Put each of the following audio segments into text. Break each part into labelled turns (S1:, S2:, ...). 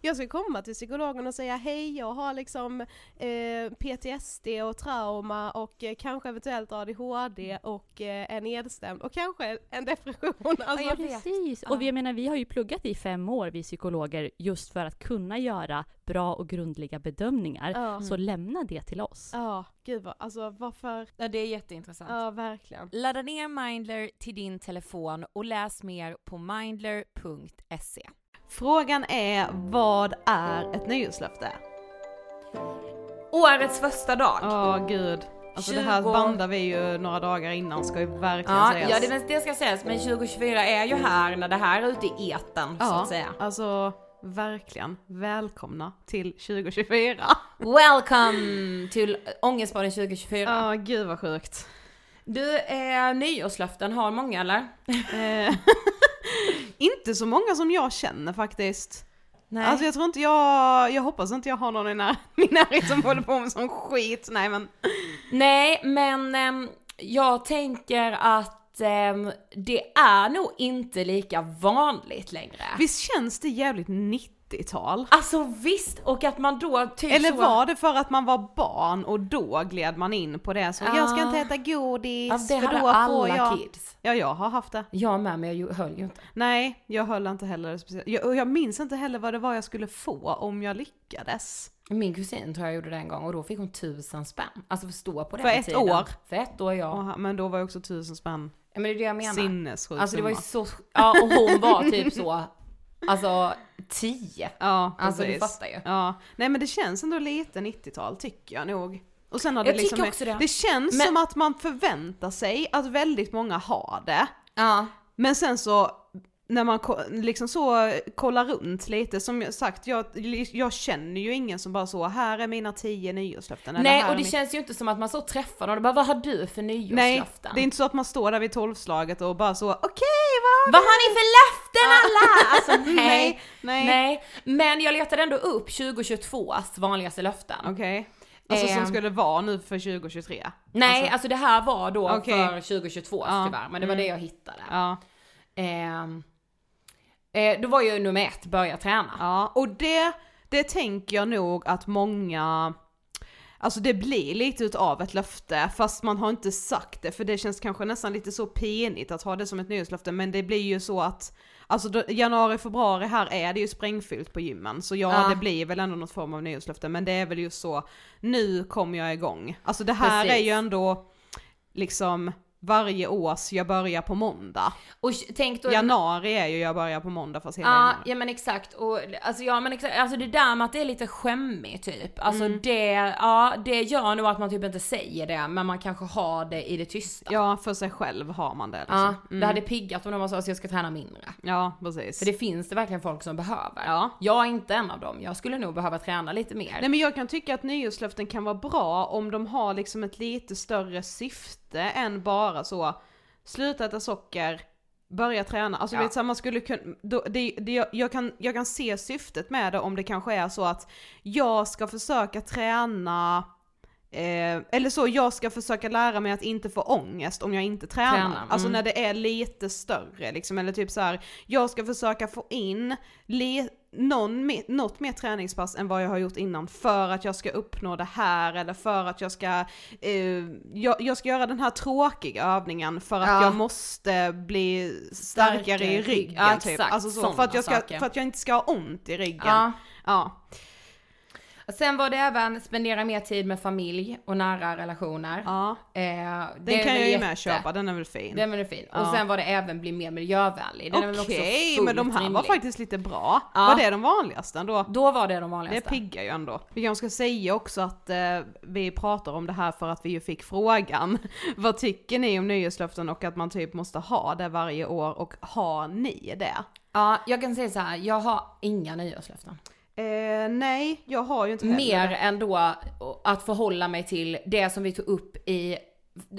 S1: Jag ska komma till psykologen och säga hej, jag har liksom eh, PTSD och trauma och eh, kanske eventuellt ADHD
S2: Mm.
S1: och eh, är nedstämd och kanske en depression. Alltså,
S2: jag vet.
S3: Precis! Och vi, jag menar, vi har ju pluggat i fem år, vi psykologer, just för att kunna göra bra och grundliga bedömningar.
S1: Ja.
S3: Så lämna det till oss.
S1: Ja, gud vad, alltså varför?
S2: Ja, det är jätteintressant.
S1: Ja, verkligen.
S2: Ladda ner Mindler till din telefon och läs mer på mindler.se.
S1: Frågan är, vad är ett nyårslöfte?
S2: Årets första dag!
S1: Ja, gud. Alltså det här
S2: 20.
S1: bandar vi ju några dagar innan ska ju verkligen
S2: Ja,
S1: sägas.
S2: ja det, det ska sägas, men 2024 är ju här när det här är ute i etern så
S1: Ja,
S2: att säga.
S1: alltså verkligen. Välkomna till 2024.
S2: Welcome till Ångestbaden 2024.
S1: Ja, gud vad sjukt.
S2: Du, eh, nyårslöften har många eller?
S1: Eh, inte så många som jag känner faktiskt.
S2: Nej.
S1: Alltså jag tror inte jag, jag hoppas inte jag har någon i när, min närhet som håller på med sån skit. Nej men,
S2: Nej, men ehm, jag tänker att ehm, det är nog inte lika vanligt längre.
S1: visst känns det jävligt 90-tal?
S2: Alltså visst, och att man då typ
S1: Eller
S2: så...
S1: var det för att man var barn och då gled man in på det? Så jag ska
S2: Ah.
S1: inte äta godis
S2: Ja, det
S1: för
S2: hade
S1: då får
S2: alla
S1: jag...
S2: kids.
S1: Ja, jag har haft det.
S2: Jag med, men jag ju- höll ju inte.
S1: Nej, jag höll inte heller det speciellt. Jag, och jag minns inte heller vad det var jag skulle få om jag lyckades.
S2: Min kusin tror jag gjorde det en gång och då fick hon tusen spänn. Alltså förstå på den
S1: För ett
S2: tiden.
S1: år?
S2: För ett år ja.
S1: Och han- men då var jag också tusen spänn.
S2: ja men det är det jag menar.
S1: Sinnessjuk
S2: Alltså det var ju
S1: summa.
S2: så, ja och hon var typ så, alltså tio.
S1: Ja,
S2: Alltså, du
S1: precis.
S2: fattar ju.
S1: Ja. Nej men det känns ändå lite 90-tal tycker jag nog. Och sen har det
S2: Jag
S1: liksom,
S2: tycker också det.
S1: det känns
S2: Men-
S1: som att man förväntar sig att väldigt många har det.
S2: Ja.
S1: Men sen så när man ko- liksom så kollar runt lite, som jag sagt, jag, jag känner ju ingen som bara så, här är mina tio nyårslöften. eller
S2: Nej
S1: här är
S2: och det
S1: mitt-
S2: känns ju inte som att man så träffar någon och bara vad har du för
S1: Nej,
S2: nyårslöften?
S1: det är inte så att man står där vid tolvslaget och bara så, okej
S2: Vad
S1: vad
S2: har ni för löften alla? Alltså nej.
S1: Nej,
S2: nej.
S1: nej.
S2: Men jag letade ändå upp 2022s vanligaste löften.
S1: Okej. Alltså
S2: Ehm.
S1: som skulle vara nu för 2023.
S2: Nej, alltså, det här var då
S1: Okej.
S2: för 2022
S1: Ja. Mm.
S2: tyvärr, men det var det jag hittade.
S1: Ja.
S2: Ehm, eh, då var ju nummer ett, börja träna.
S1: ja. Och det, det tänker jag nog att många, alltså det blir lite utav ett löfte fast man har inte sagt det för det känns kanske nästan lite så penigt att ha det som ett nyårslöfte men det blir ju så att Alltså då, januari, februari här är det ju sprängfyllt på gymmen så ja,
S2: Ja.
S1: det blir väl ändå något form av nyårslöfte men det är väl just så, nu kommer jag igång. Alltså det här är
S2: Precis.
S1: ju ändå liksom varje års jag börjar på måndag.
S2: Och k- tänk då...
S1: Januari är ju jag börjar på måndag fast hela
S2: Ja,
S1: januari.
S2: ja men exakt. Och, alltså, ja, men exakt. Alltså det där med att det är lite skämmigt typ. Alltså
S1: Mm.
S2: det, ja, det gör nog att man typ inte säger det men man kanske har det i det tysta.
S1: Ja, för sig själv har man det.
S2: Ja,
S1: Liksom.
S2: Det hade piggat om någon sa att "Alltså, jag ska träna mindre.
S1: Ja, precis.
S2: För det finns det verkligen folk som behöver.
S1: Ja.
S2: Jag är inte en av dem. Jag skulle nog behöva träna lite mer.
S1: Nej men jag kan tycka att nyårslöften kan vara bra om de har liksom ett lite större syfte än bara så sluta äta socker, börja träna. Alltså
S2: Ja.
S1: vet, så här, man skulle kunna, då, det, det, jag, jag, kan, jag kan se syftet med det om det kanske är så att jag ska försöka träna Eh, eller så, jag ska försöka lära mig att inte få ångest om jag inte tränar.
S2: Tränar, mm.
S1: Alltså när det är lite större liksom, eller typ så här, jag ska försöka få in le- någon, me- något mer träningspass än vad jag har gjort innan för att jag ska uppnå det här eller för att jag ska, eh, jag, jag ska göra den här tråkiga övningen för att
S2: Ja.
S1: jag måste bli starkare,
S2: Starkare i
S1: i
S2: ryggen,
S1: ryggen.
S2: ja,
S1: typ.
S2: exakt,
S1: alltså så,
S2: sådana
S1: för, att jag ska,
S2: saker.
S1: för att jag inte ska ha ont i ryggen.
S2: Ja.
S1: Ja.
S2: Sen var det även spendera mer tid med familj och nära relationer.
S1: Ja.
S2: Eh,
S1: Den kan jag ju med köpa, den är väl fin.
S2: Den var ju fin. Och
S1: Ja.
S2: sen var det även bli mer miljövänlig. Den är väl också
S1: Okej,
S2: fullt
S1: men de här var
S2: rimlig.
S1: faktiskt lite bra.
S2: Ja.
S1: Var det de vanligaste ändå?
S2: Då var det de
S1: Det
S2: vanligaste.
S1: piggar ju ändå. Vi kanske ska säga också att eh, vi pratar om det här för att vi ju fick frågan. Vad tycker ni om nyårslöften och att man typ måste ha det varje år och har ni det?
S2: ja, jag kan säga så här. jag har inga nyårslöften.
S1: Eh, nej, jag har ju inte heller
S2: Mer
S1: det.
S2: än då att förhålla mig till det som vi tog upp i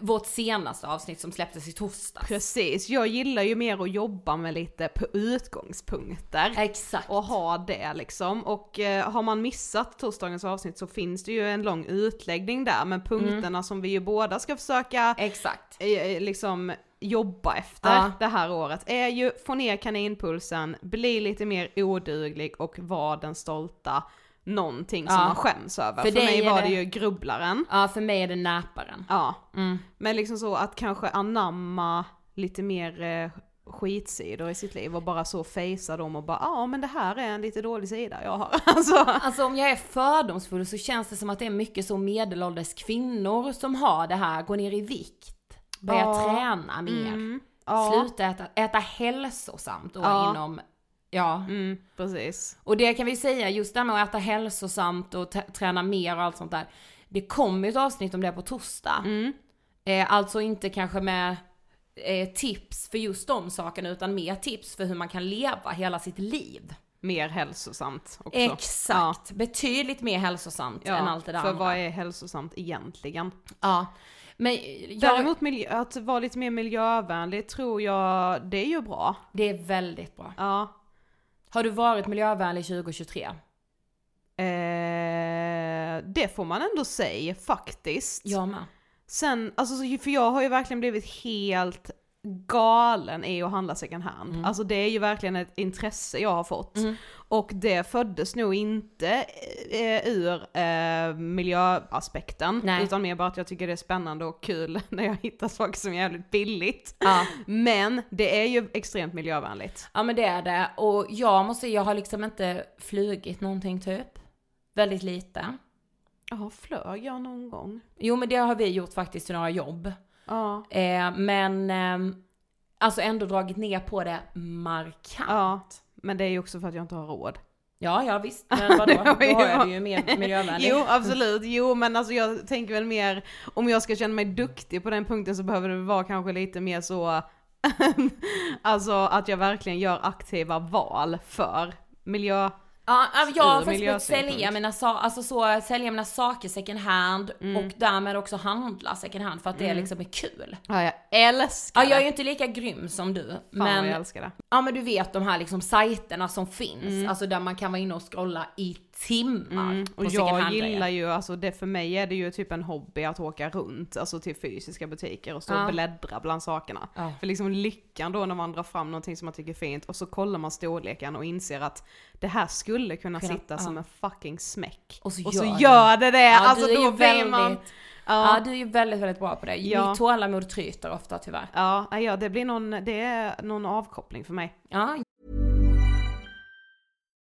S2: vårt senaste avsnitt som släpptes i torsdags.
S1: Precis, jag gillar ju mer att jobba med lite på utgångspunkter.
S2: Exakt.
S1: och ha det liksom. Och eh, har man missat torsdagens avsnitt så finns det ju en lång utläggning där med punkterna som vi ju båda ska försöka
S2: Exakt.
S1: eh, eh, liksom jobba efter
S2: Ja.
S1: det här året är ju få ner kaninpulsen, bli lite mer oduglig och vara den stolta någonting som
S2: Ja.
S1: man skäms över.
S2: För
S1: För,
S2: dig
S1: mig
S2: är
S1: var
S2: det-
S1: det ju grubblaren.
S2: Ja, för mig är det näparen.
S1: Ja.
S2: Mm.
S1: Men liksom så att kanske anamma lite mer eh, skitsidor i sitt liv och bara så fejsa dem och bara ja ah, men det här är en lite dålig sida jag har. Alltså,
S2: Alltså om jag är fördomsfull så känns det som att det är mycket så medelålders kvinnor som har det här, går ner i vikt, börjar
S1: Ja.
S2: träna mer,
S1: mm, ja.
S2: sluta äta, äta hälsosamt och
S1: Ja.
S2: inom, ja.
S1: Mm, precis.
S2: Och det kan vi ju säga, just det här med att äta hälsosamt och t- träna mer och allt sånt där. Det kommer ju ett avsnitt om det på torsdag.
S1: Mm.
S2: Eh, alltså inte kanske med eh, tips för just de sakerna utan mer tips för hur man kan leva hela sitt liv.
S1: Mer hälsosamt också.
S2: Exakt, betydligt mer hälsosamt
S1: Ja,
S2: än allt det där
S1: för
S2: andra.
S1: vad är hälsosamt egentligen?
S2: Ja. Men jag,
S1: Däremot miljö, att vara lite mer miljövänlig tror jag, det är ju bra.
S2: det är väldigt bra.
S1: Ja.
S2: Har du varit miljövänlig 2023?
S1: Eh, det får man ändå säga faktiskt.
S2: Jag med.
S1: Sen, alltså så- för jag har ju verkligen blivit helt galen i att handla second hand.
S2: Mm.
S1: Alltså det är ju verkligen ett intresse jag har fått. Och det föddes nog inte eh, ur eh, miljöaspekten,
S2: Nej.
S1: utan mer bara att jag tycker det är spännande och kul när jag hittar saker som är jävligt billigt.
S2: Ja.
S1: Men det är ju extremt miljövänligt.
S2: ja men det är det. Och jag måste säga, jag har liksom inte flugit någonting typ. Väldigt lite.
S1: Ja, flög jag någon gång?
S2: Jo men det har vi gjort faktiskt till några jobb.
S1: Ja.
S2: Eh, men ehm, alltså ändå dragit ner på det markant.
S1: Ja, men det är ju också för att jag inte har råd.
S2: Ja, ja visst. Men vadå? Då
S1: Jo.
S2: är du ju mer miljövänlig.
S1: Jo absolut, jo men alltså jag tänker väl mer om jag ska känna mig duktig på den punkten så behöver det vara kanske lite mer så alltså att jag verkligen gör aktiva val för miljö.
S2: Ja, jag har
S1: Ur
S2: faktiskt börjat sälja
S1: miljösynpunkt.
S2: mina, sa- alltså så, sälja mina saker second hand
S1: Mm.
S2: och därmed också handla second hand för att det liksom är kul.
S1: Ja, jag älskar
S2: Ja,
S1: det.
S2: jag är ju inte lika grym som du,
S1: Fan vad jag
S2: men
S1: älskar det.
S2: ja, men du vet de här liksom sajterna som finns, alltså där man kan vara inne och scrolla i timmar.
S1: Mm. Och
S2: Mm, second
S1: jag
S2: hand-grejer.
S1: gillar ju, alltså det för mig är det ju typ en hobby att åka runt, alltså till fysiska butiker och stå
S2: Ja.
S1: och bläddra bland sakerna.
S2: Ja.
S1: För liksom lyckan då när man drar fram någonting som man tycker är fint och så kollar man storleken och inser att det här skulle kunna
S2: Kunna-
S1: sitta
S2: ja.
S1: som en fucking smäck.
S2: Och så gör
S1: gör,
S2: det.
S1: det det!
S2: Ja,
S1: alltså
S2: du är
S1: då
S2: ju
S1: blir
S2: väldigt,
S1: man...
S2: ja.
S1: Ja,
S2: du är ju väldigt, väldigt bra på det.
S1: Ja.
S2: Mitt tålamod tryter ofta tyvärr.
S1: ja, ja, det blir någon, det är någon avkoppling för mig.
S2: Ja,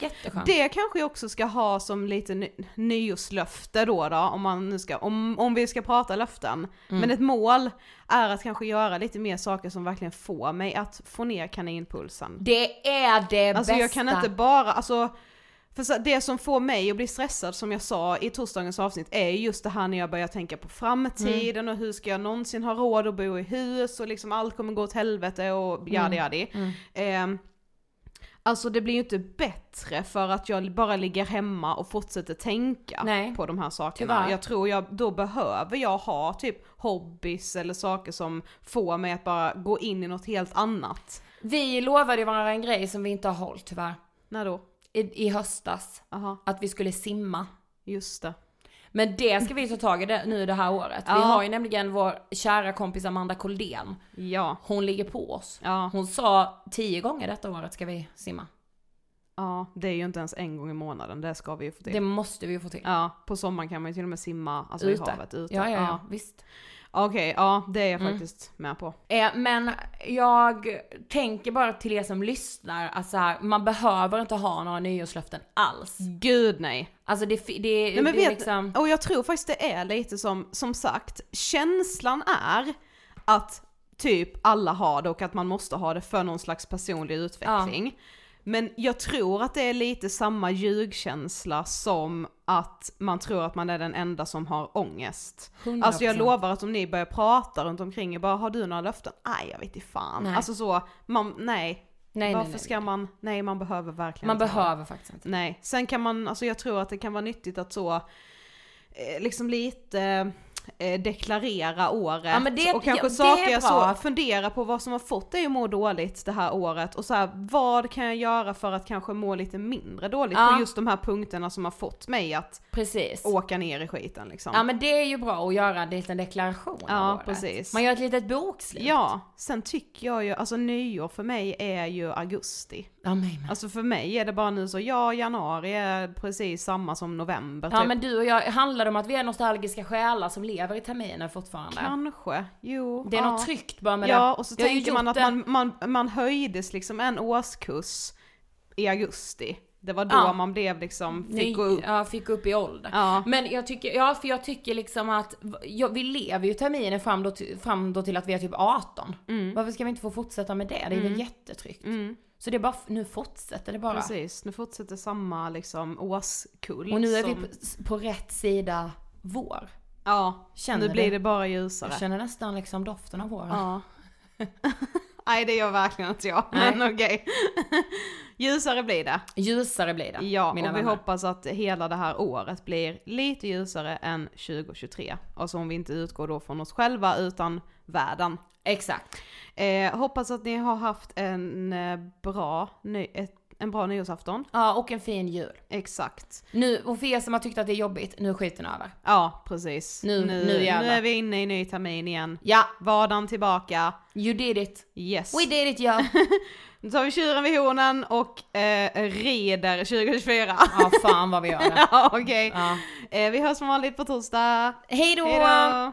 S2: jätteskönt.
S1: Det kanske jag också ska ha som lite ny- nyårslöfte då, då om, man nu ska, om, om vi ska prata löften. Men ett mål är att kanske göra lite mer saker som verkligen får mig att få ner kaninpulsen.
S2: Det är det
S1: Alltså
S2: bästa.
S1: jag kan inte bara, alltså för så- det som får mig att bli stressad som jag sa i torsdagens avsnitt är ju just det här när jag börjar tänka på framtiden
S2: Mm.
S1: och hur ska jag någonsin ha råd att bo i hus och liksom allt kommer gå åt helvete
S2: Mm.
S1: och jadi jadi. Ehm, alltså det blir ju inte bättre för att jag bara ligger hemma och fortsätter tänka
S2: Nej.
S1: på de här sakerna.
S2: Tyvärr.
S1: Jag tror jag, då behöver jag ha typ hobbys eller saker som får mig att bara gå in i något helt annat.
S2: Vi lovade ju varandra en grej som vi inte har hållit tyvärr.
S1: När då?
S2: I, I höstas.
S1: Aha,
S2: Att vi skulle simma.
S1: just det.
S2: Men det ska vi ta tag i det, nu det här året.
S1: Ja.
S2: Vi har ju nämligen vår kära kompis Amanda Koldén.
S1: Ja.
S2: Hon ligger på oss.
S1: Ja.
S2: Hon sa tio gånger detta året ska vi simma.
S1: ja, det är ju inte ens en gång i månaden, det ska vi ju få till.
S2: Det måste vi ju få till.
S1: Ja, på sommaren kan man ju till och med simma alltså i havet ute.
S2: Ja, ja, ja, Mm. visst.
S1: Okej, ja det är jag faktiskt med på.
S2: Eh, men jag tänker bara till er som lyssnar att så här, man behöver inte ha några nyårslöften alls.
S1: Gud nej.
S2: Alltså det, fi- det,
S1: nej men
S2: det är
S1: vet,
S2: liksom...
S1: Och jag tror faktiskt det är lite som, som sagt, känslan är att typ alla har det och att man måste ha det för någon slags personlig utveckling. Men jag tror att det är lite samma ljugkänsla som att man tror att man är den enda som har ångest.
S2: 100%.
S1: Alltså jag lovar att om ni börjar prata runt omkring er bara, har du några löften? Nej jag vet inte fan.
S2: Nej.
S1: Alltså så, man, nej.
S2: Nej,
S1: Varför
S2: nej, nej,
S1: ska man, nej man behöver verkligen
S2: Man
S1: inte ha det.
S2: behöver faktiskt inte.
S1: Nej, sen kan man, alltså jag tror att det kan vara nyttigt att så, eh, liksom lite eh, deklarera året
S2: Ja, men det-
S1: och kanske
S2: ja, det
S1: saker
S2: är
S1: jag
S2: bra.
S1: så, fundera på vad som har fått dig att må dåligt det här året och så här, vad kan jag göra för att kanske må lite mindre dåligt
S2: Ja.
S1: på just de här punkterna som har fått mig att
S2: Precis.
S1: åka ner i skiten liksom.
S2: Ja men det är ju bra att göra en liten deklaration
S1: Ja,
S2: av året.
S1: precis.
S2: Man gör ett litet bokslut.
S1: Ja, sen tycker jag ju, alltså nyår för mig är ju augusti.
S2: ja men,
S1: Alltså för mig är det bara nu så, ja januari är precis samma som november
S2: ja
S1: typ.
S2: men du och jag, handlar det om att vi är nostalgiska själar som lever i terminen fortfarande?
S1: Kanske, jo.
S2: Det är
S1: ja.
S2: något tryggt bara med det.
S1: Ja, och så
S2: Jag har ju
S1: tänker man
S2: gjort
S1: att
S2: det.
S1: man, man, man höjdes liksom en årskurs i augusti. Det var då
S2: Ja. Mm,
S1: man blev liksom, fick
S2: Ny-
S1: gå upp.
S2: Ja, fick upp i ålder.
S1: Ja.
S2: Men jag tycker, ja för jag tycker liksom att, ja, vi lever ju terminen fram då, till- fram då till att vi är typ 18.
S1: Mm.
S2: Varför ska vi inte få fortsätta med det? Det är väl jättetryggt. Så det är bara, f- nu fortsätter det bara.
S1: Precis, nu fortsätter samma liksom årskull.
S2: Och nu är vi
S1: som-
S2: på, på rätt sida vår.
S1: Ja,
S2: Känner
S1: nu blir
S2: det.
S1: det bara ljusare.
S2: Jag känner nästan liksom doften av våren.
S1: Ja. Nej det gör verkligen inte jag, men okej. Ljusare blir det.
S2: Ljusare blir det,
S1: Ja,
S2: mina
S1: och vi
S2: vänner.
S1: hoppas att hela det här året blir lite ljusare än 2023. Alltså om vi inte utgår då från oss själva utan världen.
S2: Exakt.
S1: Eh, hoppas att ni har haft en eh, bra, ny, ett, en bra nyårsafton.
S2: Ja, och en fin jul.
S1: Exakt.
S2: Nu, och för er som har tyckt att det är jobbigt, nu är skiten över.
S1: Ja, precis.
S2: Nu- nu
S1: nu
S2: jävlar.
S1: är vi inne i ny termin igen.
S2: Ja,
S1: Vardagen tillbaka.
S2: you did it.
S1: Yes.
S2: We did it, ja.
S1: Nu tar vi tjuren vid hornen och eh, rider 2024.
S2: ja, fan vad vi gör det.
S1: Ja, okej.
S2: Ja.
S1: Eh, vi hörs som vanligt på torsdag.
S2: Hej då!
S1: Hej då!